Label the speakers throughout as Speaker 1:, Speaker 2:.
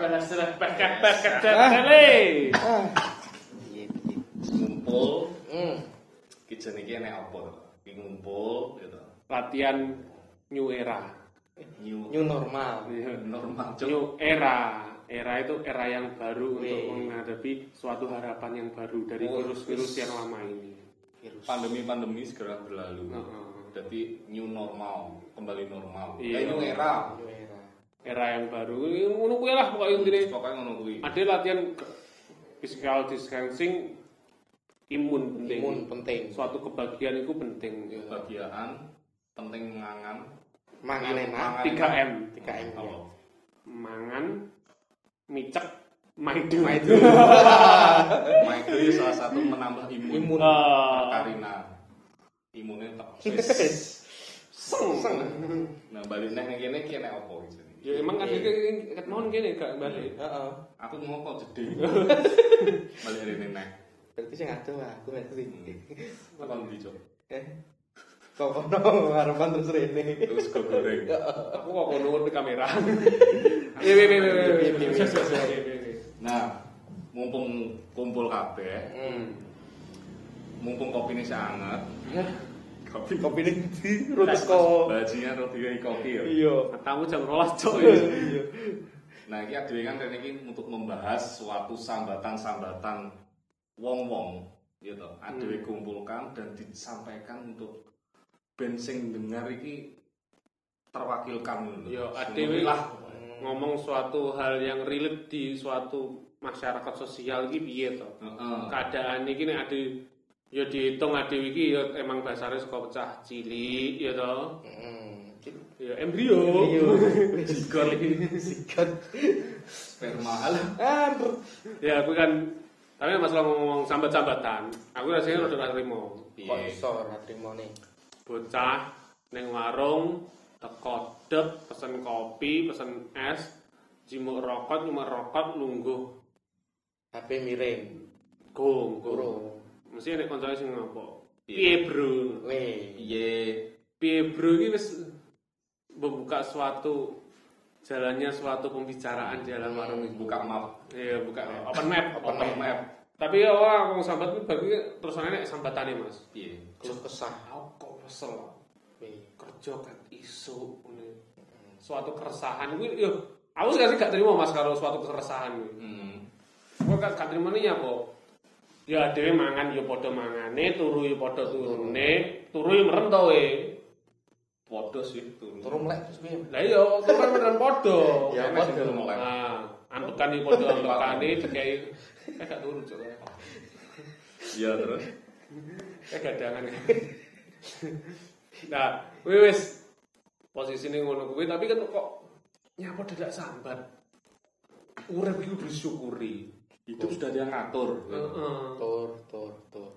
Speaker 1: Pekat pekat tele.
Speaker 2: ngumpul
Speaker 1: Hmm.
Speaker 2: kitchen iki enek apa to? Iki ngumpul gitu.
Speaker 1: Latihan new era.
Speaker 2: New,
Speaker 3: New normal.
Speaker 2: normal cuk.
Speaker 1: New era. Era itu era yang baru untuk
Speaker 3: Wih.
Speaker 1: menghadapi suatu harapan yang baru dari
Speaker 2: Oh,
Speaker 1: virus-virus yang lama ini.
Speaker 3: Virus.
Speaker 2: Pandemi-pandemi segera berlalu.
Speaker 1: Heeh.
Speaker 2: Jadi new normal, kembali normal.
Speaker 1: Iya.
Speaker 2: Eh, new era.
Speaker 3: New era.
Speaker 1: Era yang baru. Ini Ngono kuwi lah pokoke intine.
Speaker 2: Pokoknya ngono kuwi.
Speaker 1: Ada latihan ke- physical distancing imun penting.
Speaker 3: Imun penting.
Speaker 1: Suatu kebahagiaan itu penting.
Speaker 2: Kebahagiaan penting mangan.
Speaker 3: Mangan enak.
Speaker 2: Mangan
Speaker 1: 3M.
Speaker 3: 3M. ya.
Speaker 2: Apa?
Speaker 1: Mangan, micek, maidu.
Speaker 2: Mike itu salah satu menambah imun.
Speaker 3: Imun.
Speaker 1: Eh,
Speaker 2: Karina. Imunnya tak.
Speaker 1: seng.
Speaker 2: Nah, balik neh ning kene iki enek apa gitu.
Speaker 1: Ya emang kan iki ket mohon kene gak balik.
Speaker 3: Heeh.
Speaker 2: Aku ngoko jedhe. balik rene neh.
Speaker 3: Berarti sing adoh aku berarti.
Speaker 2: Apa ndi, Cuk?
Speaker 3: Eh. Kok ono harapan terus rene.
Speaker 2: Terus go goreng.
Speaker 1: Aku kok ngono di kamera. Iya iya iya iya, iya, iya, iya, iya, iya, iya.
Speaker 2: Nah, mumpung kumpul kabeh,
Speaker 3: Hmm.
Speaker 2: mumpung kopine sih anget. Kopi
Speaker 3: Kopi ini di rutus kok.
Speaker 2: Bajinya roti kopi ya.
Speaker 3: Iya.
Speaker 1: Matamu jam rolas cok.
Speaker 3: Iya.
Speaker 2: Nah, iki adewe kan rene iki untuk membahas suatu sambatan-sambatan wong-wong gitu. Adewe kumpulkan dan disampaikan untuk ben sing dengar iki terwakilkan gitu.
Speaker 1: Yo,
Speaker 2: Semoga
Speaker 1: Iya, adewe
Speaker 2: lah
Speaker 1: ngomong suatu hal yang relate di suatu masyarakat sosial iki piye to.
Speaker 2: Heeh.
Speaker 1: Keadaan iki nek ade ya dihitung ade iki ya emang dasare saka pecah cilik ya to.
Speaker 3: Hmm.
Speaker 1: Ya embrio.
Speaker 3: Iya.
Speaker 2: Jigor iki
Speaker 3: Sikat.
Speaker 2: sperma alah.
Speaker 3: Ah.
Speaker 1: Ya aku kan tapi masalah ngomong sambat-sambatan, aku rasanya rada ora trimo.
Speaker 3: Kok iso ora trimo nih.
Speaker 1: bocah neng warung teko dek pesen kopi pesen es jimuk rokok nyumuk rokok lungguh
Speaker 3: HP miring.
Speaker 1: gong gong
Speaker 3: Guru.
Speaker 1: mesti ada konsolnya sing ngopo piye bro
Speaker 3: Nih.
Speaker 2: Piye?
Speaker 1: piye bro ini wis membuka suatu jalannya suatu pembicaraan di dalam warung itu
Speaker 2: Buka map
Speaker 1: iya buka open map
Speaker 2: open map.
Speaker 1: tapi ya wah ngomong sambat itu bagi terus nek sambatannya mas
Speaker 2: Piye?
Speaker 3: Keluh kesah.
Speaker 1: aku kok kesel
Speaker 3: Wih.
Speaker 1: kerja kan isu ini. suatu keresahan gue yo aku sekarang gak terima mas kalau suatu keresahan gue
Speaker 2: Hmm.
Speaker 1: gue gak, gak terima nih apa ya dewe mangan yo podo mangane turu yo podo turune turu yo merem tau we
Speaker 2: Podo sih turun.
Speaker 3: Turu melek terus piye?
Speaker 1: lah yo turu kan merem podo
Speaker 3: Ya,
Speaker 2: Enak sih
Speaker 3: podo.
Speaker 2: turun oleh.
Speaker 1: nah ambekan yo podo ambekane dikai eh gak turu coba
Speaker 2: Iya terus.
Speaker 1: eh gadangan nah wis wis posisine ngono kuwi tapi kan kok nyapa dadak sambat urip iku disyukuri
Speaker 2: Hidup sudah dia ngatur.
Speaker 1: heeh
Speaker 3: Tur, tur, tur.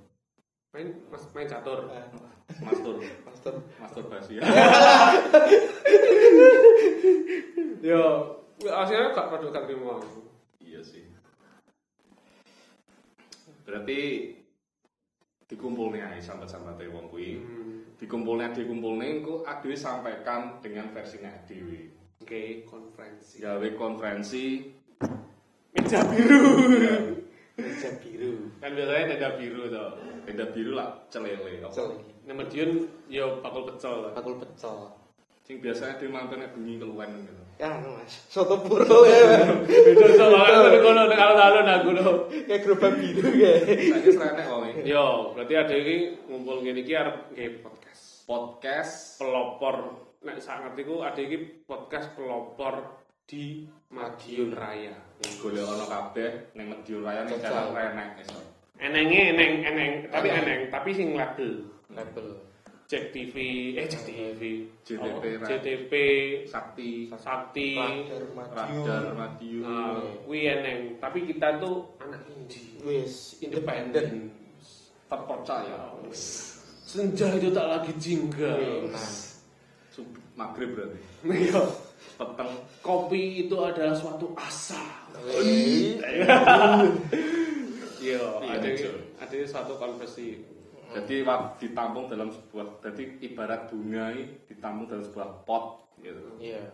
Speaker 1: main mas main catur
Speaker 2: Mastur.
Speaker 3: Pastor.
Speaker 2: Masturbasi.
Speaker 1: yo akhirnya gak padha gak terima
Speaker 2: Iya sih. Berarti dikumpulnya ae sambat-sambate wong kuwi.
Speaker 1: Hmm.
Speaker 2: Dikumpulnya dikumpulnya engko adewe sampaikan dengan versinya adewe.
Speaker 1: oke konferensi
Speaker 2: Gawe konferensi
Speaker 1: meja biru
Speaker 3: Meja biru.
Speaker 1: kan biasanya tenda biru to
Speaker 2: beda biru lah celele. Apa?
Speaker 3: Pecel.
Speaker 1: nek medion yo bakul pecel lah
Speaker 3: Bakul pecel.
Speaker 2: Sing biasanya adewe mangkene bengi keluwen gitu.
Speaker 3: Ya, anu mas. Soto puro ya.
Speaker 1: beda sama kan ngono nek alon-alon aku lho
Speaker 3: Kayak gerobak biru ya.
Speaker 2: Saiki srenek wae.
Speaker 1: yo berarti ada iki ngumpul ngene iki arep nge podcast
Speaker 2: Podcast
Speaker 1: pelopor nek sak ngerti ku ada iki podcast pelopor di Madiun Raya
Speaker 2: golek ana kabeh ning Medion Raya ning
Speaker 3: Jajal.
Speaker 2: jalan renek iso.
Speaker 1: enenge eneng eneng tapi eneng tapi sing label
Speaker 3: Label.
Speaker 1: Jack TV eh Jack TV
Speaker 2: JTP,
Speaker 1: Apa?
Speaker 2: Ra.
Speaker 1: JTP
Speaker 2: Sakti
Speaker 1: Sakti
Speaker 3: Radar
Speaker 2: Radar
Speaker 3: Madiun.
Speaker 2: Madiun.
Speaker 1: nah, kuwi eneng tapi kita tuh anak indie
Speaker 3: Wis independen.
Speaker 1: independen
Speaker 2: Terpercaya.
Speaker 1: senja itu tak lagi jingga
Speaker 3: Nah,
Speaker 2: Sub- Maghrib berarti.
Speaker 1: Iya.
Speaker 2: Peteng
Speaker 1: kopi itu adalah suatu asa
Speaker 3: wis.
Speaker 1: Iya,
Speaker 2: Iya,
Speaker 1: ada
Speaker 2: betul.
Speaker 1: ada suatu konversi
Speaker 2: Jadi wa- ditampung dalam sebuah, jadi ibarat bunga ini ditampung dalam sebuah pot, gitu.
Speaker 3: Iya.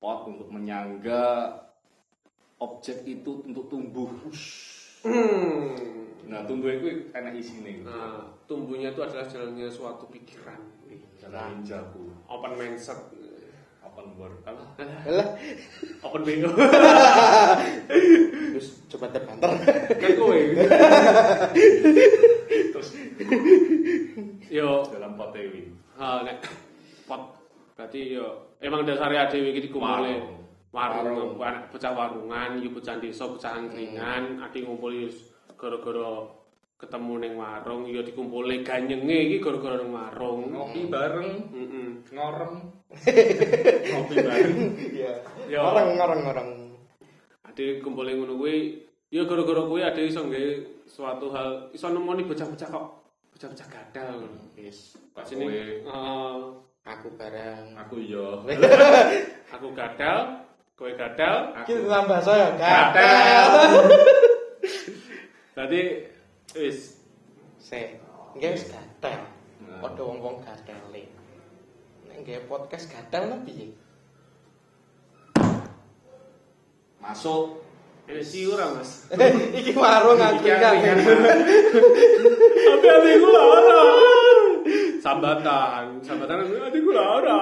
Speaker 2: Pot untuk menyangga objek itu untuk tumbuh.
Speaker 1: Hmm.
Speaker 2: Nah, tumbuh itu enak isine.
Speaker 1: Nah, tumbuhnya itu adalah jalannya suatu pikiran.
Speaker 2: Jalan jago,
Speaker 1: Open mindset.
Speaker 2: open world. Alah,
Speaker 3: Lah,
Speaker 1: Open BO.
Speaker 3: terus coba terbanter.
Speaker 1: Kayak kowe.
Speaker 2: Terus
Speaker 1: Yo,
Speaker 2: dalam potewi.
Speaker 1: ha nek pot berarti yo emang dasarnya dhewe iki dikumpulin. warung,
Speaker 2: Warung.
Speaker 1: anak pecah warungan, yuk pecah desa, pecah angkringan, ati ngumpul yo gara-gara ketemu ning warung, yo dikumpuli ganyenge iki gara-gara ning warung.
Speaker 2: Ngopi bareng,
Speaker 1: Heeh.
Speaker 2: ngorem. Ngopi bareng.
Speaker 3: Iya.
Speaker 1: Yo.
Speaker 3: Orang orang orang.
Speaker 1: Ade kumpulin ngono kuwi, ya gara-gara kuwi ade iso nggawe suatu hal, iso nemoni bocah-bocah kok bocah-bocah gadal.
Speaker 3: Yes.
Speaker 1: Pak
Speaker 2: Pak
Speaker 1: sini,
Speaker 2: kowe,
Speaker 1: eh,
Speaker 3: Aku bareng.
Speaker 2: aku yo.
Speaker 1: aku gadal, kowe gadal.
Speaker 3: Kita tambah saya.
Speaker 1: Berarti wis
Speaker 3: Se. Nggih wis gatel.
Speaker 2: Nah.
Speaker 3: Padha wong-wong gatele. Nek nggih podcast gatel lah piye?
Speaker 2: Masuk.
Speaker 1: energi ora, Mas.
Speaker 3: Iki warung aku
Speaker 2: Iki
Speaker 3: kan.
Speaker 1: Tapi ati gula ora. Sambatan, sambatan ati gula ora.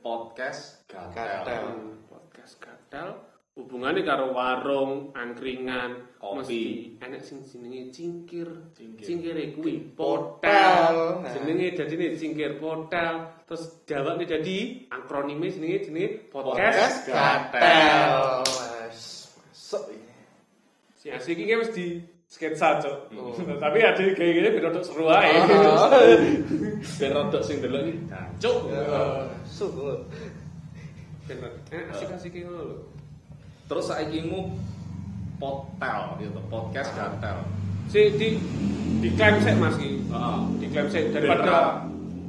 Speaker 2: Podcast gatel.
Speaker 3: Gatel.
Speaker 1: Podcast gadal hubungannya karo warung, angkringan,
Speaker 2: Kopi.
Speaker 1: mesti enek sing jenenge cingkir.
Speaker 2: Cingkir. Nah.
Speaker 1: Cingkire kuwi
Speaker 3: Potel.
Speaker 1: potel. Jenenge dadine cingkir potel, terus jawane dadi akronime jenenge jenenge podcast.
Speaker 2: Podcast.
Speaker 3: Podcast gatel. Mas. Masuk ini.
Speaker 1: Si asli iki kan mesti sketsa, Cok.
Speaker 3: Oh.
Speaker 2: Hmm.
Speaker 1: Tapi ada gaya-gaya ben rodok seru ae.
Speaker 2: Ah. Ben rodok sing delok iki. Nah,
Speaker 1: Cok.
Speaker 3: Suhu.
Speaker 1: Ben rodok. Eh, asik-asik iki ngono lho.
Speaker 2: Terus saiki mu potel gitu, podcast gatel.
Speaker 1: Si di diklaim sik Mas iki.
Speaker 2: Heeh.
Speaker 1: Diklaim sik
Speaker 2: Betra.
Speaker 1: daripada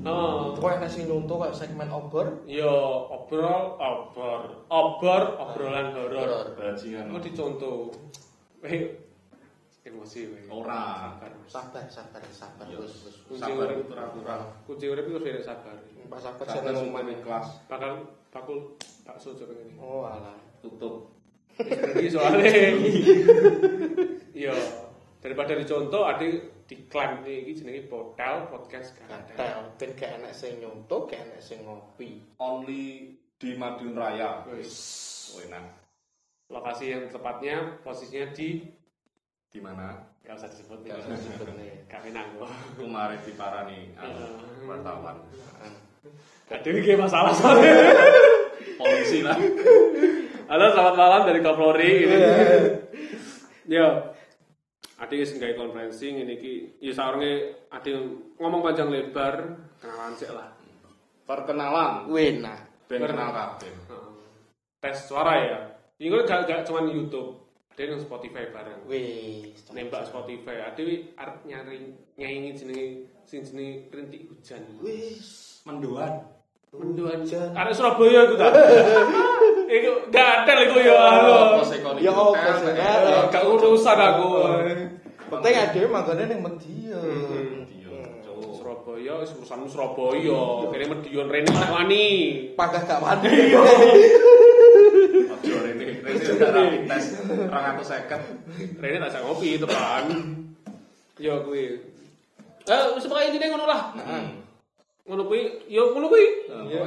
Speaker 1: Oh,
Speaker 3: Kok enak sing nyontoh kayak segmen obor?
Speaker 1: yo Iya, obrol obor obor obrolan horor.
Speaker 3: Horor.
Speaker 2: Bajingan.
Speaker 1: Mau dicontoh. Eh emosi weh.
Speaker 2: Ora.
Speaker 1: Sabar, weh.
Speaker 3: Sabar, sabar, sabar. Wis, wis. wis.
Speaker 2: Sabar pura-pura.
Speaker 1: Kunci urip iku dhewe sabar.
Speaker 3: Pas sabar
Speaker 2: Sabar
Speaker 3: seneng
Speaker 2: sumpah
Speaker 3: omah.
Speaker 2: kelas
Speaker 1: Bakal bakul bakso coba ngene.
Speaker 3: Oh, alah.
Speaker 2: tutup.
Speaker 1: Jadi soalnya Yo daripada dicontoh ada diklaim nih iki jenenge portal podcast kan.
Speaker 3: Gatel. Ben gak enak sing nyontoh, gak enak sing ngopi.
Speaker 2: Only di Madiun Raya.
Speaker 1: Wis.
Speaker 2: Oh, enak.
Speaker 1: Lokasi yang tepatnya posisinya di
Speaker 2: Di mana?
Speaker 1: gak usah disebut
Speaker 3: Gak usah sebenarnya.
Speaker 1: Kami nanggo.
Speaker 2: Kemarin di Parani anu, wartawan.
Speaker 1: Aduh iki masalah soalnya.
Speaker 2: Polisi lah.
Speaker 1: Halo selamat malam dari Kapolri. Yo. Ade wis nggawe konferensi ngene iki. Ya saurunge ade ngomong panjang lebar kenalan sik lah.
Speaker 2: Perkenalan.
Speaker 3: Wena.
Speaker 2: Ben kenal kabeh.
Speaker 1: Heeh. Tes suara ya. Ini kan gak, gak cuman YouTube. Ada yang Spotify bareng.
Speaker 3: Wih.
Speaker 1: Nembak Spotify. Ada yang arep nyari nyaingi jenenge sing jenenge rintik hujan.
Speaker 3: Wih.
Speaker 2: Mendoan.
Speaker 1: Mendoan
Speaker 3: hujan.
Speaker 1: Arek Surabaya iku ta. Iku gak ada lho iku ya.
Speaker 2: Oh, pos ekonomi
Speaker 3: Ya,
Speaker 2: hotel,
Speaker 3: pos
Speaker 2: PNS.
Speaker 3: ekonomi.
Speaker 1: Gak urusan aku.
Speaker 3: Penting ada manggane ning Media.
Speaker 2: Iya, cowok.
Speaker 1: Surabaya wis urusanmu Surabaya. Kene Medion rene anak wani.
Speaker 3: Pagah gak mandi.
Speaker 2: Ojo rene rene udah rapid tes 250.
Speaker 1: Rene tak ajak ngopi tekan. Yo kuwi. Eh, sebagai intine ngono lah.
Speaker 2: Heeh.
Speaker 1: Ngono kuwi, yo ngono kuwi.
Speaker 2: Iya.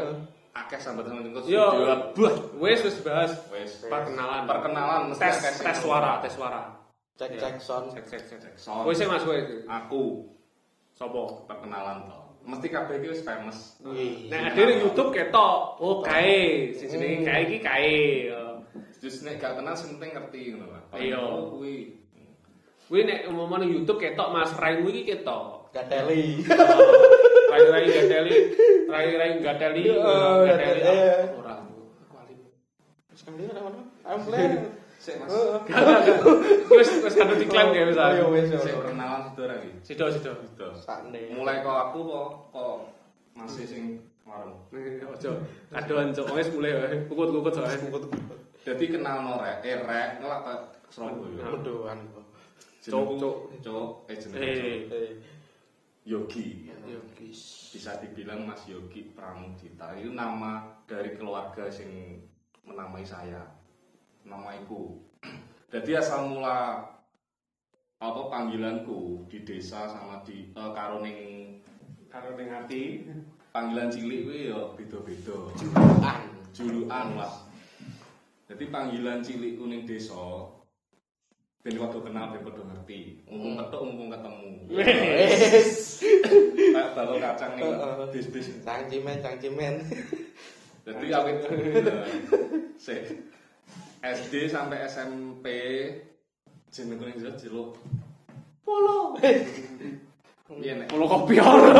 Speaker 2: Akeh sambatan ning
Speaker 1: Yo,
Speaker 2: studio.
Speaker 1: wes wes bahas
Speaker 2: Wes.
Speaker 1: perkenalan.
Speaker 2: Perkenalan, mesti
Speaker 1: tes
Speaker 2: akeh sing
Speaker 1: tes
Speaker 2: ngono.
Speaker 1: suara, tes suara.
Speaker 3: Cek cek sound.
Speaker 1: Cek cek cek cek.
Speaker 2: Sound.
Speaker 1: Wes sing Mas kowe itu.
Speaker 2: Aku
Speaker 1: Sopo?
Speaker 2: perkenalan to. Mesti kabeh iki wis famous.
Speaker 3: Wih.
Speaker 1: Nek ada di YouTube ketok. Oh, kae. Sing
Speaker 2: Hmm.
Speaker 1: jenenge kae iki kae.
Speaker 2: Just nek gak kenal sing penting ngerti ngono lah.
Speaker 1: Iya.
Speaker 2: Oh, Kuwi.
Speaker 1: Kuwi nek umpama ning YouTube ketok Mas Raimu iki ketok.
Speaker 3: Gateli.
Speaker 1: Rai-rai gateli, rai-rai gateli,
Speaker 3: Iya,
Speaker 1: gateli.
Speaker 3: Gateli.
Speaker 1: Ora aku alim.
Speaker 3: Sekali ora ono. Ampleng.
Speaker 2: Sik Mas.
Speaker 3: Heeh.
Speaker 1: Wes wes kan diklaim ya wis.
Speaker 3: Oh, ya wis. ya
Speaker 2: Sik
Speaker 3: wis.
Speaker 2: perkenalan saudara iki.
Speaker 1: Sido sido.
Speaker 2: Gitu.
Speaker 3: Sakne.
Speaker 2: Mulai kok aku kok kok masih sing warung.
Speaker 1: Eh, Ojo, kadoan cok, wes mulai wae. Kukut-kukut soalnya.
Speaker 2: Jadi kenal no rek, eh rek ngelak ke Surabaya.
Speaker 3: Mendoan. kok.
Speaker 1: Cok,
Speaker 2: Jenengku-
Speaker 1: cok.
Speaker 2: Cok, eh jeneng.
Speaker 1: Eh,
Speaker 3: Eh,
Speaker 2: Yogi.
Speaker 3: ya wis.
Speaker 2: Bisa dibilang Mas Yogi Pramudita itu nama dari keluarga sing menamai saya. nama iku. Jadi asal mula apa panggilanku di desa sama di eh, karo ning
Speaker 1: Karo ning ati
Speaker 2: panggilan cilik kuwi ya beda-beda.
Speaker 3: Julukan.
Speaker 2: Julukan Mas. Jadi panggilan cilik ning desa ben padha kenal ben padha ngerti. Mumpung ketok mumpung ketemu.
Speaker 3: Wes.
Speaker 2: Kayak bakal kacang ning
Speaker 3: Heeh.
Speaker 2: bis-bis.
Speaker 3: Cang cimen, cang cimen.
Speaker 2: Jadi awit Sik. SD sampai SMP jenengku ning jelas jeluk
Speaker 3: Polo.
Speaker 2: Iya nek
Speaker 1: Kalau kopi ya. ora.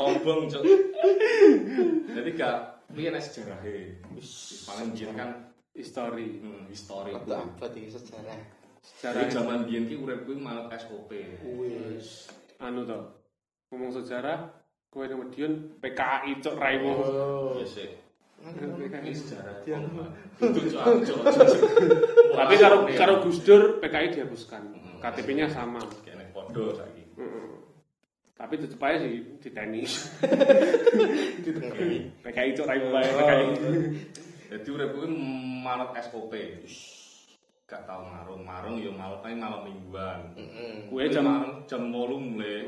Speaker 2: tombong cok. Jadi gak piye nek sejarahe. Paling biyen kan
Speaker 1: History.
Speaker 2: hmm, histori.
Speaker 3: Udah upload iki sejarah.
Speaker 1: Sejarah
Speaker 2: Dari zaman biyen ki urip kuwi malah SOP.
Speaker 3: Wes.
Speaker 1: anu to. Ngomong sejarah kowe ning Medion PKI cok raimu.
Speaker 2: Iya sik. Ini sejarah.
Speaker 3: Dia-
Speaker 2: Kongman. Itu cok aku, cok, cok, cok.
Speaker 1: Tapi
Speaker 2: Wah,
Speaker 1: karo
Speaker 2: iya.
Speaker 1: karo Gus Dur PKI dihapuskan.
Speaker 2: Hmm.
Speaker 1: KTP-nya sama.
Speaker 2: Kayak nek podo saiki.
Speaker 1: Mm-mm. Tapi tetep aja sih di tenis.
Speaker 2: Gini.
Speaker 1: PKI cok raimu bae PKI.
Speaker 2: Jadi urip kuwi malah SOP. Gak tau marung, marung yo malah paling malam mingguan.
Speaker 3: Heeh.
Speaker 1: Kowe jam
Speaker 2: Marung jam 8 mulai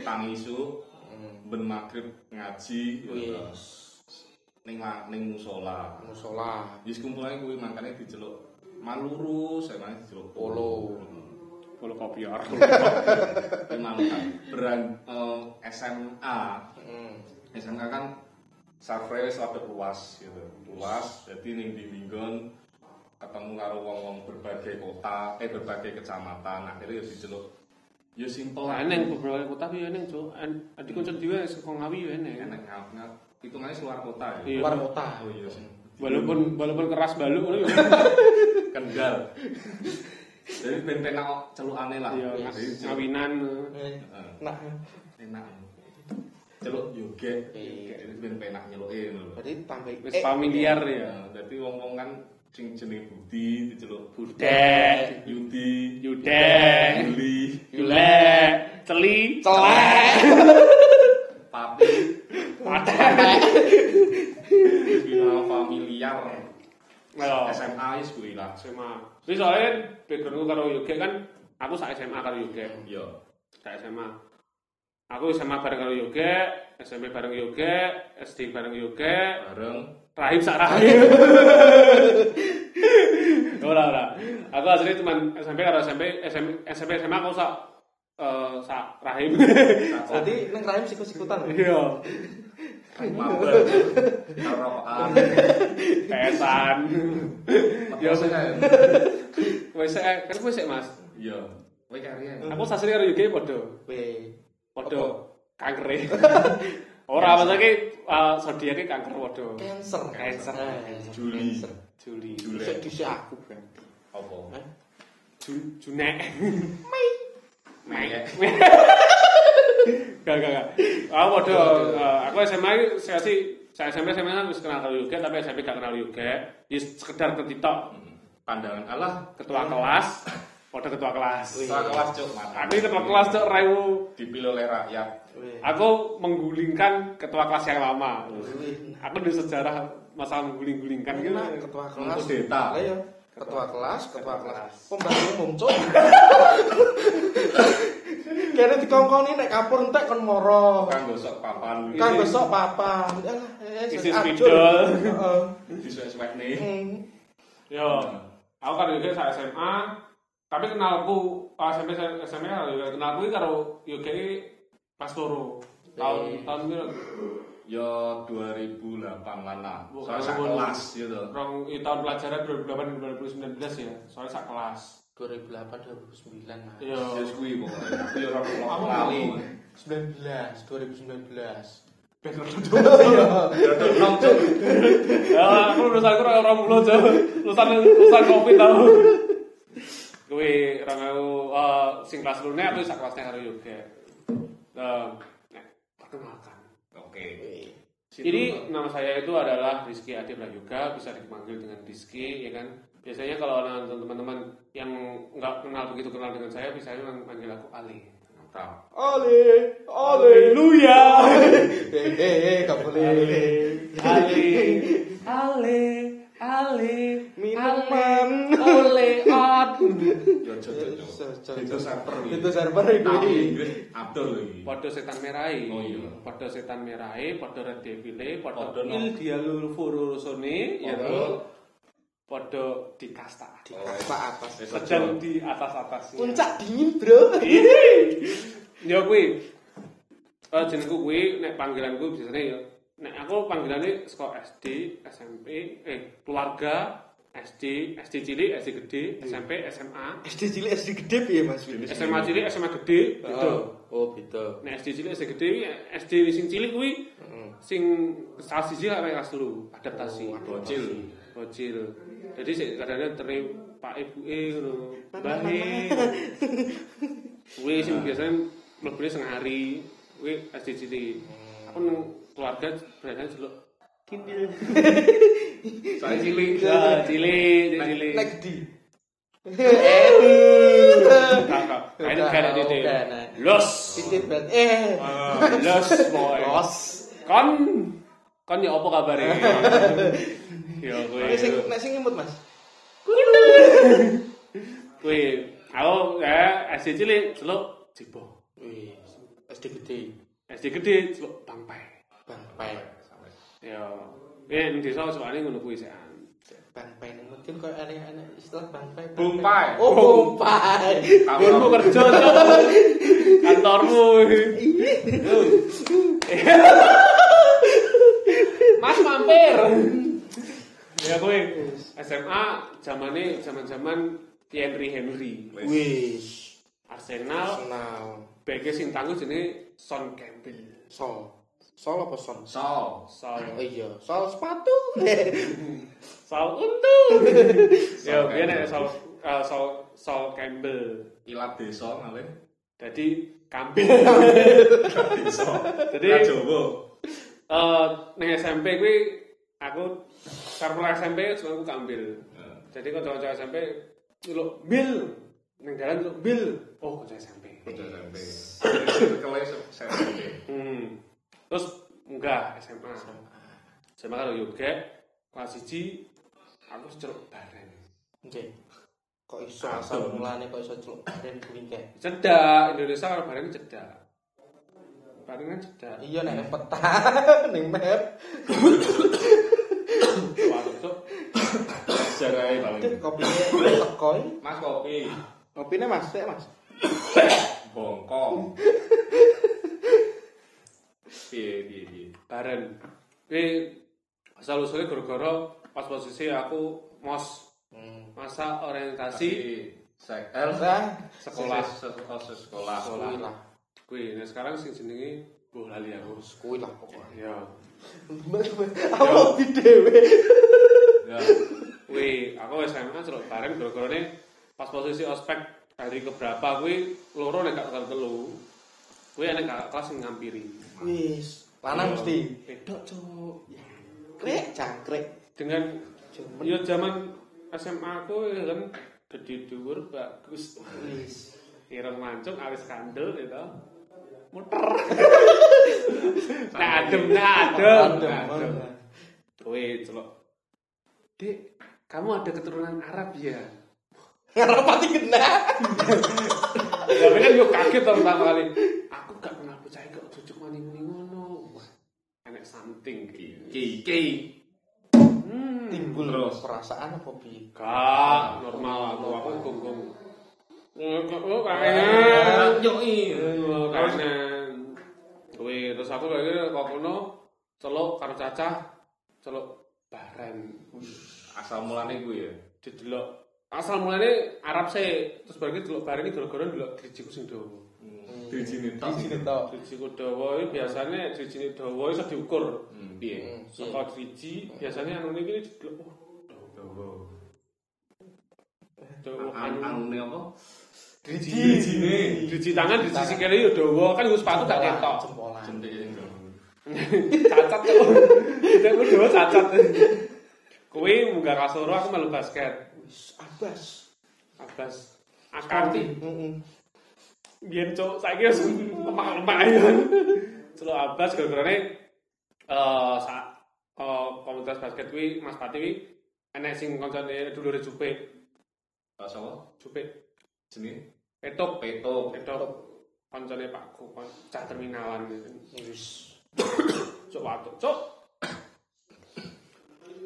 Speaker 2: tangi isuk
Speaker 3: Heeh.
Speaker 2: ben magrib ngaji ya
Speaker 3: Wih.
Speaker 2: terus. ning ma- ning musola.
Speaker 3: Musola.
Speaker 2: Wis kumpulane kuwi makane diceluk maluru, saya mana diceluk
Speaker 3: Polo.
Speaker 1: Kalau kopi ora.
Speaker 2: Kuwi malu kan. Beran eh, SMA,
Speaker 3: Heeh.
Speaker 1: Hmm.
Speaker 2: SMA kan survei wis rada luas gitu. Luas, jadi ning di Minggon ketemu karo wong-wong berbagai kota, eh berbagai kecamatan. Akhirnya ya diceluk ya simpel lah.
Speaker 1: Eneng Oh, beberapa kota tapi eneng cok. En- Adik kuncen dhewe saka ngawi ya eneng.
Speaker 2: Enak ngap-ngap. Hitungannya luar kota ya.
Speaker 1: Iya.
Speaker 3: Luar kota.
Speaker 2: Oh iya.
Speaker 1: Walaupun walaupun keras baluk ngono ya.
Speaker 2: Kendal. Jadi ben penak celuk aneh lah.
Speaker 1: Iya,
Speaker 2: Jadi
Speaker 1: ngas-
Speaker 2: celuk-
Speaker 1: ngawinan.
Speaker 3: Eh,
Speaker 2: Heeh,
Speaker 3: Nah,
Speaker 2: enak. Celuk yoge.
Speaker 3: Iya.
Speaker 2: Jadi ben penak nyeluke lho.
Speaker 3: berarti tambah eh,
Speaker 1: Wis familiar ya.
Speaker 2: Ya, dadi wong-wong kan sing jeneng Budi diceluk
Speaker 1: Budek,
Speaker 2: Yudi,
Speaker 1: Yudek,
Speaker 2: Yuli,
Speaker 1: Yulek, Celi,
Speaker 3: Celek.
Speaker 2: Papi,
Speaker 1: Patek.
Speaker 2: final familiar.
Speaker 1: Ayo.
Speaker 2: SMA wis kuwi lah.
Speaker 1: SMA. Jadi soalnya backgroundku karo Yoge kan aku sak SMA karo Yoge,
Speaker 2: Yo.
Speaker 1: sak SMA. Aku SMA bareng karo Yoge, SMP bareng Yoge, SD bareng Yoge,
Speaker 2: Bareng
Speaker 1: rahim sak rahim. ora ora. Aku asli cuman SMP karo SMP, SMP, SMP SMA aku sak eh, sak rahim.
Speaker 3: Berarti neng rahim sikut-sikutan.
Speaker 1: Iya,
Speaker 2: mabel. Karokan.
Speaker 1: pesan. Iya,
Speaker 2: Ya saya.
Speaker 1: Wes eh, kan wes eh, Mas.
Speaker 2: Yo. Kowe karya.
Speaker 1: Aku sasri karo Yoge padha.
Speaker 3: Weh.
Speaker 1: Podo kanker e. Ora maksudnya uh, zodiaknya kanker podo.
Speaker 3: Cancer.
Speaker 1: Cancer.
Speaker 3: Cancer.
Speaker 2: Juli.
Speaker 3: Cancer.
Speaker 1: Juli.
Speaker 2: Juli.
Speaker 3: Dhisik dhisik aku eh. kan.
Speaker 2: Apa?
Speaker 3: Hah?
Speaker 1: Ju- Junek.
Speaker 2: Meyek.
Speaker 1: Gak gak gak. Aku podo uh, aku SMA ini saya sih saya SMP SMA kan wis kenal karo Yoga tapi SMP gak kenal Yoga. Ya sekedar ketitok
Speaker 2: Pandangan Allah.
Speaker 1: ketua kelas. Podo ketua kelas.
Speaker 3: Wih.
Speaker 2: Ketua kelas cuk mata.
Speaker 1: Aku ini ketua kelas cok Rewu.
Speaker 2: Dipilih oleh rakyat.
Speaker 3: Weh.
Speaker 1: Aku menggulingkan ketua kelas yang lama.
Speaker 3: Weh.
Speaker 1: Aku di sejarah masalah mengguling-gulingkan gitu.
Speaker 3: Enak, ketua kelas.
Speaker 2: Untuk data.
Speaker 3: Lah ya. Ketua kelas, ketua
Speaker 1: Ketua
Speaker 3: kelas.
Speaker 1: kelas.
Speaker 3: Pembantu umum cuk. Kene dikongkoni nek kapur entek kon moro.
Speaker 2: Kang gosok
Speaker 3: Oh.
Speaker 2: papan.
Speaker 3: Kan
Speaker 1: Isi-
Speaker 3: besok papa. Alah, eh,
Speaker 1: Isi
Speaker 3: Arjun.
Speaker 1: spidol.
Speaker 3: Heeh.
Speaker 2: Disuwek-suwek nih.
Speaker 3: Hmm.
Speaker 1: Yo, Ya, aku kan juga saat SMA, tapi kenalku pas SMP SMA karo Yoga ya, kenalku iki karo Yoga iki pas loro. Tahun
Speaker 3: Eh.
Speaker 1: tahun piro?
Speaker 2: Yo 2008 lana.
Speaker 1: Wah,
Speaker 2: Soalnya sak
Speaker 1: kamu
Speaker 2: kelas gitu.
Speaker 1: Rong i, tahun pelajaran 2008 2019 ya, soalnya sak kelas. Ya,
Speaker 3: 2008 2009 Mas.
Speaker 1: Yo.
Speaker 2: Terus kuwi pokoknya. Aku yo ora
Speaker 1: Aku
Speaker 2: mau
Speaker 1: lali.
Speaker 2: lali.
Speaker 3: 19 2019.
Speaker 1: Background dulu.
Speaker 2: Dodo nom cuk.
Speaker 1: Ya, aku lulusan aku orang mulu aja. Lulusan lulusan Covid tau. Kuwi orang aku eh, sing kelas lune aku sak kelasnya karo Yoga. Eh, nah, perkenalkan.
Speaker 2: Oke.
Speaker 3: Weh.
Speaker 1: Jadi nama saya itu adalah Rizky Adi Prayoga, bisa dipanggil dengan Rizky, ya kan? Biasanya kalau orang- teman-teman yang nggak kenal begitu kenal dengan saya, bisa panggil aku Ali.
Speaker 2: mantap.
Speaker 3: Ale, ale.
Speaker 1: Haleluya!
Speaker 3: Eh, eh, eh, gak boleh.
Speaker 1: Ali, Ali, Ali,
Speaker 3: Minum
Speaker 2: Pintu server iki.
Speaker 3: Pintu server iku.
Speaker 2: Tapi Inggris abdol lagi.
Speaker 1: Padha setan merahi.
Speaker 2: Oh, iya.
Speaker 1: Padha setan merahi, padha red devile, padha
Speaker 2: Padha no.
Speaker 1: il dialur furusone, ya
Speaker 2: Padha.
Speaker 1: toh. Padha dikasta.
Speaker 3: Pak atas.
Speaker 2: Wis
Speaker 1: Sedang di atas-atas.
Speaker 3: Puncak dingin, Bro.
Speaker 1: Ya kuwi. Eh jenengku kuwi nek panggilanku biasanya ya nek aku panggilannya saka SD, SMP, eh keluarga, SD, SD cilik, SD gede, SMP, SMA,
Speaker 3: SD cilik SD gede piye Mas?
Speaker 1: SMA cilik, SMA gede, gitu.
Speaker 3: Oh, beda.
Speaker 1: Nek SD cilik, SD gede, kuwi, SD sing cilik kuwi sing kelas siji lah kelas dulu adaptasi
Speaker 2: Bocil.
Speaker 1: bocil jadi sih kadang-kadang teri pak ibu eh ngono bahe kuwi sing biasanya mlebune setengah hari kuwi SD cilik aku nang keluarga berada jeluk kindil
Speaker 2: Saya cilik.
Speaker 1: Ya, cilik cilik, cilik
Speaker 3: Nek di.
Speaker 1: kakak ayo kan
Speaker 3: Kakak,
Speaker 1: titik
Speaker 3: kan, nah.
Speaker 1: los
Speaker 3: Titik banget. Eh.
Speaker 1: Ah, los boy
Speaker 3: Los.
Speaker 1: kon kon ya apa kabare ya
Speaker 3: Nek sing
Speaker 1: kuwi
Speaker 3: nek sing imut, Mas.
Speaker 1: kuwi aku eh SD cilik celuk jebol
Speaker 3: Wih, SD gede.
Speaker 1: SD gede celuk pangpai
Speaker 3: Bang Pai.
Speaker 1: ya ini di desa soalnya ngono kuwi sih
Speaker 3: Bang Pai nek mungkin koyo anak-anak istilah Bang Pai. Bang
Speaker 2: Bung Pai.
Speaker 3: Oh, Bung Pai.
Speaker 1: kantormu kerja Cok. kantormu mas mampir ya kuwi SMA zamane zaman-zaman Henry Henry
Speaker 3: Wih,
Speaker 1: Arsenal
Speaker 3: senang.
Speaker 1: BG sing tangguh jenenge Son Campbell
Speaker 3: Sol. Sol apa son?
Speaker 2: So,
Speaker 1: Sol
Speaker 3: Oh iya, sol sepatu.
Speaker 1: Sol Untung ya
Speaker 2: Sol
Speaker 1: biyen nek
Speaker 2: Campbell.
Speaker 1: Sol eh, Sol Sol Campbell
Speaker 2: ilat desa malih.
Speaker 1: jadi kambing
Speaker 2: Desa.
Speaker 1: Jadi-
Speaker 2: Ra Jawa.
Speaker 1: Eh, neng SMP gue aku karena SMP cuma aku ambil.
Speaker 2: Nah,
Speaker 1: Jadi kalau cowok-cowok SMP lo bil neng jalan lo bil. Oh kocok SMP.
Speaker 2: Udah sampai. Circle SMP.
Speaker 1: Hmm. Terus enggak SMA. SMA kalau yoga kelas C aku ceruk bareng.
Speaker 3: Oke. Kok iso asal mulane kok iso celuk bareng kuwi kae.
Speaker 1: Cedak Indonesia kalau bareng cedak. Bareng kan cedak.
Speaker 3: Iya nek peta ning map.
Speaker 1: Wah cocok.
Speaker 2: Sejarahnya paling.
Speaker 3: Kopine teko. iki.
Speaker 2: Mas kopi.
Speaker 3: Kopine Mas, sik Mas.
Speaker 2: Bongkong. Piye piye piye.
Speaker 1: bareng ini asal usulnya gara-gara pas posisi aku mos masa orientasi
Speaker 2: Si sek L
Speaker 3: Sang
Speaker 1: Sekolah.
Speaker 2: Se- se- oh, se- eh, sekolah.
Speaker 3: kuwi lah.
Speaker 1: kuwi nah sekarang sing jenenge boh lali aku
Speaker 3: Kuwi lah pokoknya.
Speaker 1: ya
Speaker 3: Apa di dhewe?
Speaker 2: Ya.
Speaker 1: kuwi aku SMA celok bareng gara-gara ini pas posisi ospek hari keberapa kuwi loro nek gak bakal telu kuwi enek kakak kelas sing ngampiri
Speaker 3: Wis, lanang mesti.
Speaker 1: Wedok,
Speaker 3: cuk. Krek cangkrek.
Speaker 1: dengan
Speaker 3: Cuman-
Speaker 1: yo zaman SMA aku ya kan gede dhuwur bagus
Speaker 3: Wis.
Speaker 1: ireng mancung awis kandel gitu muter nah adem nah adem nah, adem
Speaker 3: Adem.
Speaker 1: Wih, celok dek kamu ada keturunan Arab ya
Speaker 3: Ngarep pati kena.
Speaker 1: tapi kan yo kaget tau pertama kali aku gak pernah percaya kok cucuk mani muni ngono wah enek something gitu
Speaker 2: Ki ki.
Speaker 1: hmm
Speaker 3: Timbul
Speaker 2: Terus.
Speaker 3: perasaan apa piye?
Speaker 1: gak normal aku aku gonggong oh kayaknya
Speaker 2: Eh, Yo i.
Speaker 1: kanan kuwi terus aku lagi kok kono celuk karo cacah celuk bareng
Speaker 2: Asal mulane kuwi ya.
Speaker 1: didelok asal mulane Arab sih terus bareng delok bareng iki gara-gara delok drijiku sing dawa
Speaker 2: Hmm. Dijine tok.
Speaker 3: Iki to.
Speaker 1: drijiku dawa iki biasane drijine dawa iso diukur
Speaker 2: Hmm, Piye?
Speaker 1: saka driji biasanya anu iki didelok oh,
Speaker 2: Jawa.
Speaker 1: dawa
Speaker 2: An
Speaker 1: anu
Speaker 2: anune apa?
Speaker 1: drijine driji tangan driji sikile yo dawa kan nggo sepatu gak ketok
Speaker 3: Jempolan.
Speaker 2: Jentik sing Jawa.
Speaker 1: cacat tuh tidak gue dua cacat kue munggah kasur aku melu basket
Speaker 3: Wis, abas.
Speaker 1: abas akarti
Speaker 3: Heeh.
Speaker 1: biar cowok saya kira lemah lemah ya selalu abas gara-gara ini eh saat eh, komunitas basket kue mas pati kue enek sing koncone dulu cupe
Speaker 2: Pas apa?
Speaker 1: cupe
Speaker 2: Jenenge
Speaker 1: Petuk,
Speaker 2: petuk
Speaker 1: petuk. Koncone Pak Kukon, cah terminalan gitu.
Speaker 3: Wis.
Speaker 1: Cuk watuk, cuk.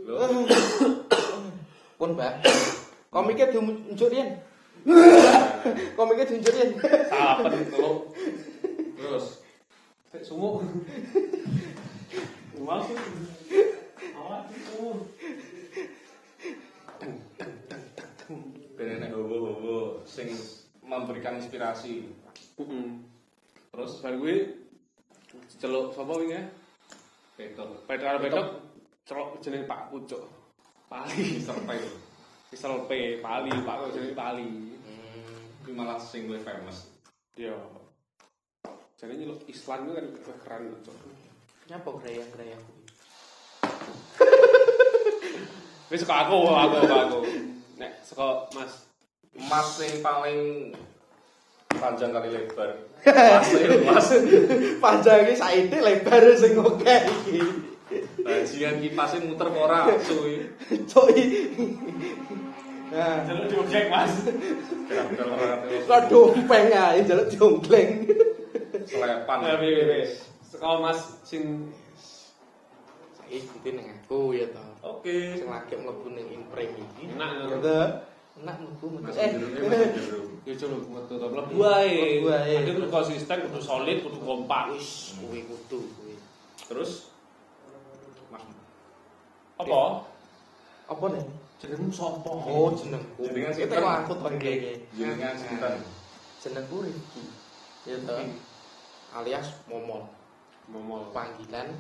Speaker 2: Loh,
Speaker 3: Pun, Mbak. Komiknya diunjuk riyen. Komiknya diunjuk riyen.
Speaker 1: Sapen tolong.
Speaker 2: terus
Speaker 1: Sik sumuk. Rumah sih. Awak sumuk.
Speaker 2: ben enek hobo-hobo sing memberikan inspirasi
Speaker 1: Heeh.
Speaker 2: terus
Speaker 1: Bar kuwi celuk sapa wingi?
Speaker 2: petuk
Speaker 1: Petra Petuk celuk jeneng Pak Pucuk. Pali,
Speaker 2: sampai itu
Speaker 1: Misal P, Pali, Pak Pucuk jeneng Pali.
Speaker 2: Ini Hmm. malah sing luwih famous
Speaker 1: Yo. Jadi nyeluk Islam itu kan keren Cuk.
Speaker 3: Nyapa greyang-greyang kuwi?
Speaker 1: Wis suka aku, aku, aku. Nek suka Mas
Speaker 2: emas sing paling panjang kali lebar emas emas
Speaker 3: Panjangnya saiki lebar sing oke iki.
Speaker 2: bajian kipasnya muter apa ora suwi
Speaker 3: Cuk. i- Nah,
Speaker 1: Jalur diobjek mas
Speaker 2: Gerabel ora terus
Speaker 3: kok dompeng ae njaluk diongkleng.
Speaker 2: selepan
Speaker 1: Nah, wih, wih, wih Sekolah mas Sin
Speaker 3: Saiki iki ning aku ya to.
Speaker 2: oke
Speaker 3: Sing lagi mlebu ning imprem iki.
Speaker 1: Enak ya
Speaker 3: Gitu. Enak mlebu metu.
Speaker 2: mas
Speaker 3: Eh,
Speaker 2: jeruknya mas jeruk
Speaker 1: Ya coba metu to mlebu ae.
Speaker 3: Mlebu ae.
Speaker 1: Nanti kudu konsisten, kudu solid, kudu kompak.
Speaker 3: wis kuwi kudu kuwi.
Speaker 2: terus mas
Speaker 1: Apa?
Speaker 3: Apa nih?
Speaker 1: Jenengmu sapa?
Speaker 3: Oh, jenengku.
Speaker 2: Jenengan
Speaker 3: Itu
Speaker 2: sinten?
Speaker 3: kok aku to iki.
Speaker 2: jenengan sinten
Speaker 3: Jenengku Rifki. Ya to. Alias Momol.
Speaker 1: momol.
Speaker 3: Panggilan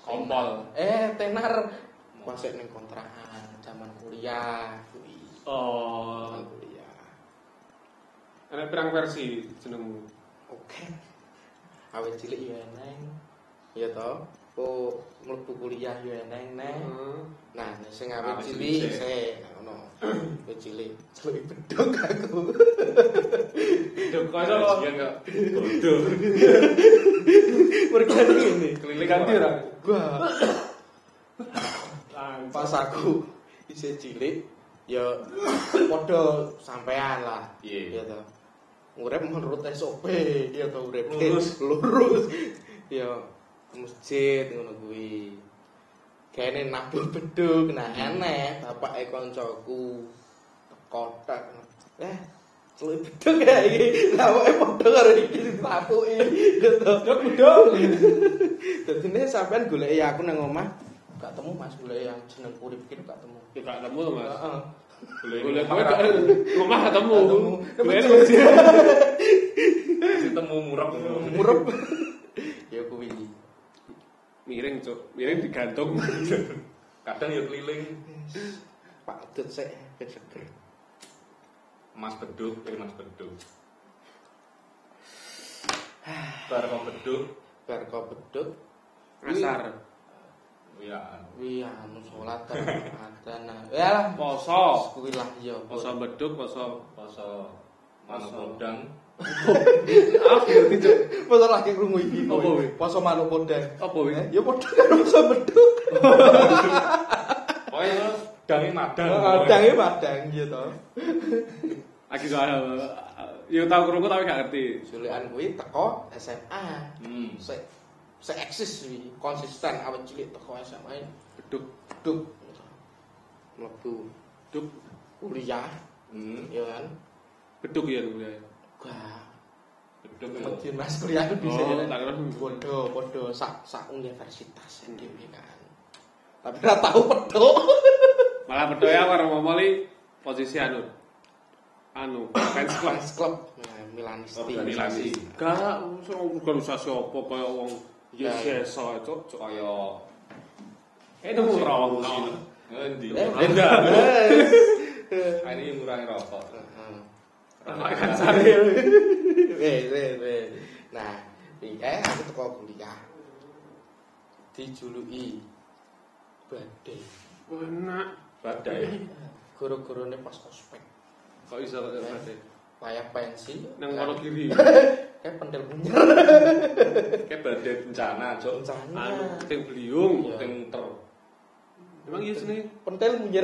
Speaker 1: Kompol.
Speaker 3: eh tenar masih neng kontrakan zaman kuliah kuwi.
Speaker 1: Oh,
Speaker 3: Zaman kuliah.
Speaker 1: ana pirang versi jenengmu.
Speaker 3: Oke. Awet cilik yo eneng. Ya to. Kok mlebu kuliah yo eneng neng.
Speaker 1: Hmm.
Speaker 3: Nah, nek sing awet
Speaker 2: Awet
Speaker 3: cilik
Speaker 2: cilik.
Speaker 3: sik ngono. Awet cilik. Cilik bedok aku.
Speaker 1: Duh, kok iso kok
Speaker 2: bajian kok bodoh
Speaker 3: Mergo ngene.
Speaker 2: keliling
Speaker 1: ganti ora?
Speaker 3: Gua
Speaker 1: Langsung.
Speaker 3: pas aku isih cilik ya padha sampean lah ya
Speaker 2: Iya.
Speaker 3: to urip menurut SOP ya to urip
Speaker 2: Lurus.
Speaker 3: lurus ya ke masjid ngono kuwi kene nabung beduk nah
Speaker 2: Hmm.
Speaker 3: aneh bapake koncoku teko tek eh celuk beduk ya iki lawake padha karo iki disapuki ya to
Speaker 1: Duh, bedong.
Speaker 3: Dadi ini sampean goleki aku nang omah, gak temu Mas goleki yang jeneng urip iki gak temu.
Speaker 1: Ya gak ketemu, Mas.
Speaker 3: Heeh.
Speaker 1: Boleh gue gak rumah
Speaker 2: Oh,
Speaker 1: ketemu.
Speaker 3: Ketemu.
Speaker 1: Boleh
Speaker 3: Ketemu.
Speaker 1: ketemu.
Speaker 2: ketemu murah
Speaker 3: Urip. Ya kuwi.
Speaker 1: Miring, Cuk. Miring digantung.
Speaker 2: kadang ya keliling
Speaker 3: Pak Dut sik ben seger.
Speaker 2: mas beduk eh mas beduk bar kok beduk
Speaker 3: Bar kau beduk,
Speaker 1: Asar.
Speaker 2: ya
Speaker 3: kuwi anu salat kan adzan. Ya lah,
Speaker 1: Poso.
Speaker 3: kuwi lah ya.
Speaker 1: Poso beduk, poso
Speaker 2: poso manuk podang
Speaker 1: Apa ngerti cok?
Speaker 3: Poso lagi krungu iki.
Speaker 1: Apa kuwi?
Speaker 3: kuwi. Poso manuk podang.
Speaker 1: Apa wih?
Speaker 3: Ya padha karo poso beduk.
Speaker 2: pokoknya dangi madang Oh,
Speaker 3: Padange padang ya to.
Speaker 1: Lagi soal eh, Yo tau kerungu tapi gak ngerti
Speaker 3: Julian kuwi teko SMA.
Speaker 2: hmm
Speaker 3: se se eksis sih konsisten awet cilik teko SMA ya.
Speaker 1: Beduk
Speaker 3: duk mlebu
Speaker 1: Beduk
Speaker 3: kuliah
Speaker 2: hmm
Speaker 3: ya kan
Speaker 1: Beduk ya dulu ya
Speaker 3: gak
Speaker 2: beduk ya.
Speaker 3: mesti mas kuliah aku bisa
Speaker 1: Oh, tak
Speaker 3: ya
Speaker 1: kira
Speaker 3: bodoh bodoh sak sak universitas ini kan tapi gak tahu pedok
Speaker 1: Malah beduk ya karo momoli posisi anu Anu, fans club
Speaker 3: fans club eh, nah,
Speaker 1: Oh,
Speaker 3: Milanisti
Speaker 2: organisasi
Speaker 1: Gak, usah organisasi apa kaya wong ya, Yes, yes, so itu
Speaker 2: kaya
Speaker 1: Itu murah no.
Speaker 2: ngendi
Speaker 3: eh
Speaker 2: Ah,
Speaker 3: beda
Speaker 2: ini ngurangi rokok
Speaker 3: Weh, weh, weh. Nah, iya aku teko kuliah. Dijuluki badai.
Speaker 1: Enak
Speaker 2: badai
Speaker 3: Goro-gorone pas ospek.
Speaker 1: Kok bisa kok berarti
Speaker 3: Layak pensi.
Speaker 1: Nang kono kiri
Speaker 3: Kayak Eh, pendel punya.
Speaker 2: kayak badai bencana
Speaker 1: Anu,
Speaker 2: cok
Speaker 3: Rencana.
Speaker 1: ting beliung
Speaker 2: yang muter
Speaker 1: Emang iya sini
Speaker 3: Pentel punya.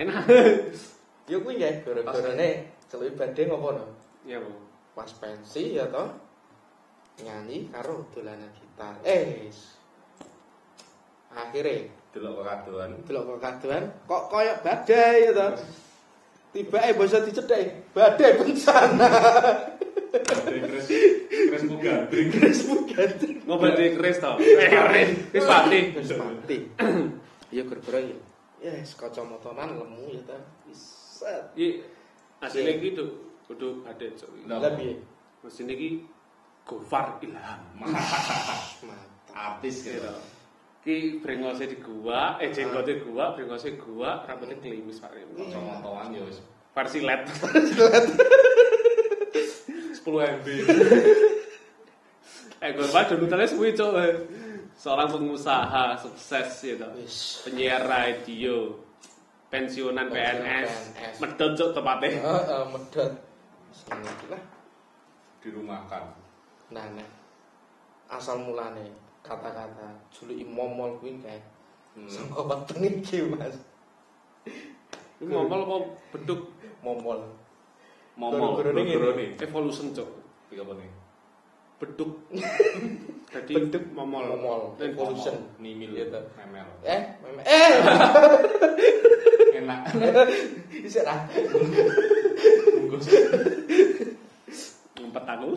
Speaker 1: Enak
Speaker 3: Yo kuwi ya goro-gorone Celui badhe ngopo no?
Speaker 1: Iya, Bu.
Speaker 3: Pas pensi ya toh. Nyanyi karo dolanan gitar. Eh. wis. Akhire
Speaker 2: delok kekadoan
Speaker 3: delok kok kadoan kok koyo badai ya toh. Tiba eh basa dicedhek, badai bencana.
Speaker 2: dari Kris Kris Mugandring
Speaker 3: Chris Mugandring.
Speaker 1: Ngobat di keris tau. Eh, keris. Wis pati.
Speaker 3: Wis mati. Ya gara-gara ya. Ya wis kacamatanan lemu ya ta. Wis set.
Speaker 1: Iki asline iki tuh kudu ada coy.
Speaker 2: Lah,
Speaker 3: Lah piye?
Speaker 1: Mesin iki Gofar Ilham.
Speaker 3: Mati.
Speaker 2: artis gitu
Speaker 1: Ki brengose di gua, eh jenggote gua, brengose gua, rambutnya klimis Pak Rem.
Speaker 2: kocok-kocokan ya wis
Speaker 1: Versi LED. 10 MB. eh Gofar dulutannya suwi coy. Seorang pengusaha sukses gitu.
Speaker 3: Wis.
Speaker 1: Penyiar radio. Pensiunan
Speaker 3: Pensiunan
Speaker 1: PNS.
Speaker 3: PNS.
Speaker 1: Medot cok tepatnya.
Speaker 3: Heeh, medot. Seneng iki lah.
Speaker 2: dirumahkan
Speaker 3: Nah, nah. Asal mulane kata-kata juluki momol kuwi kae.
Speaker 2: Hmm.
Speaker 3: Sangka weteng iki, Mas.
Speaker 1: Ini ngomong kok beduk
Speaker 3: Momol.
Speaker 2: momol
Speaker 3: Goro-goro ini.
Speaker 2: goro-gorone.
Speaker 1: evolution cok.
Speaker 2: iki apa nih
Speaker 1: Beduk. Jadi
Speaker 3: Beduk.
Speaker 1: momol.
Speaker 3: Momol.
Speaker 1: Dan
Speaker 3: Evolution.
Speaker 2: Momol, nimil
Speaker 3: Gitu.
Speaker 2: memel
Speaker 3: Eh, meme. Eh,
Speaker 2: enak
Speaker 3: bisa lah.
Speaker 2: bungkus
Speaker 1: ngumpet aku.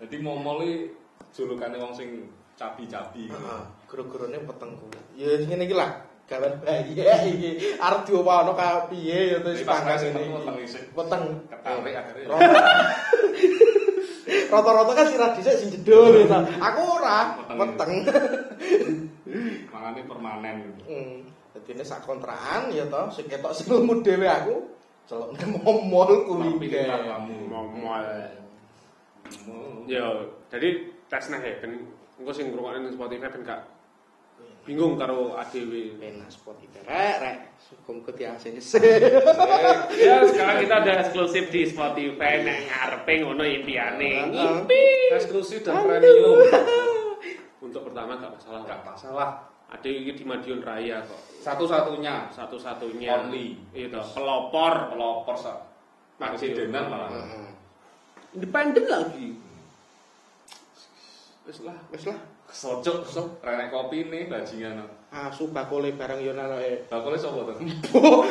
Speaker 2: jadi momol iki julukannya wong sing cabi-cabi
Speaker 3: Heeh, guru-gurune peteng kuwi. Ya ngene iki lah. Gambar bayi Eh, iki. Arep diopakno ka piye ya terus
Speaker 2: Tapi pas
Speaker 3: pangkas
Speaker 2: kasih
Speaker 3: ngene
Speaker 2: metu weteng
Speaker 3: iki.
Speaker 2: isik.
Speaker 3: Weteng.
Speaker 2: Ketarik akhirnya.
Speaker 3: Rata-rata kan sirah dhisik sing jedul ya. ta. Aku ora
Speaker 2: Weteng.
Speaker 3: weteng.
Speaker 2: makanya permanen gitu
Speaker 3: Hmm, jadi ini sak kontrakan ya toh, sing ketok sing lemu dhewe aku celok momol kuwi
Speaker 2: Tapi ini
Speaker 3: kae.
Speaker 2: kamu
Speaker 1: Momol. Ya, jadi tes nah ya kan engko sing ngrungokne ning Spotify ben gak bingung karo ADW.
Speaker 3: Penas Spotify rek rek hukum ke tiasene.
Speaker 1: Ya, sekarang kita ada eksklusif di Spotify nek ngarepe ngono impiane. Ngimpi. Eksklusif dan premium. Untuk pertama gak masalah.
Speaker 2: gak
Speaker 1: Kak.
Speaker 2: masalah
Speaker 1: Ada iki di Madiun Raya kok.
Speaker 2: satu-satunya
Speaker 1: Satu-satunya
Speaker 2: Only.
Speaker 1: itu pelopor
Speaker 2: pelopor sak presidenan malah
Speaker 3: Heeh.
Speaker 1: independen lagi. Wis lah.
Speaker 3: Wis lah,
Speaker 2: sojok sok renek kopi nih bajingan
Speaker 3: asu bakole bareng yo nang e.
Speaker 2: bakulnya sopo tuh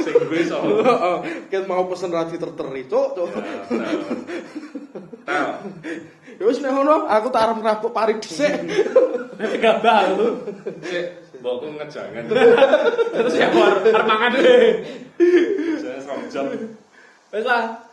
Speaker 2: sing gue sopo
Speaker 3: Ket mau pesen ra diterteri cuk. cuk.
Speaker 2: tau
Speaker 3: Ya wis nek ngono aku tak arep rabuk pari dhisik.
Speaker 1: Gak bau.
Speaker 2: cek mbokku ngejangan
Speaker 1: Terus ya keluar arep mangan deh.
Speaker 2: jangan serom jam
Speaker 1: Wes lah,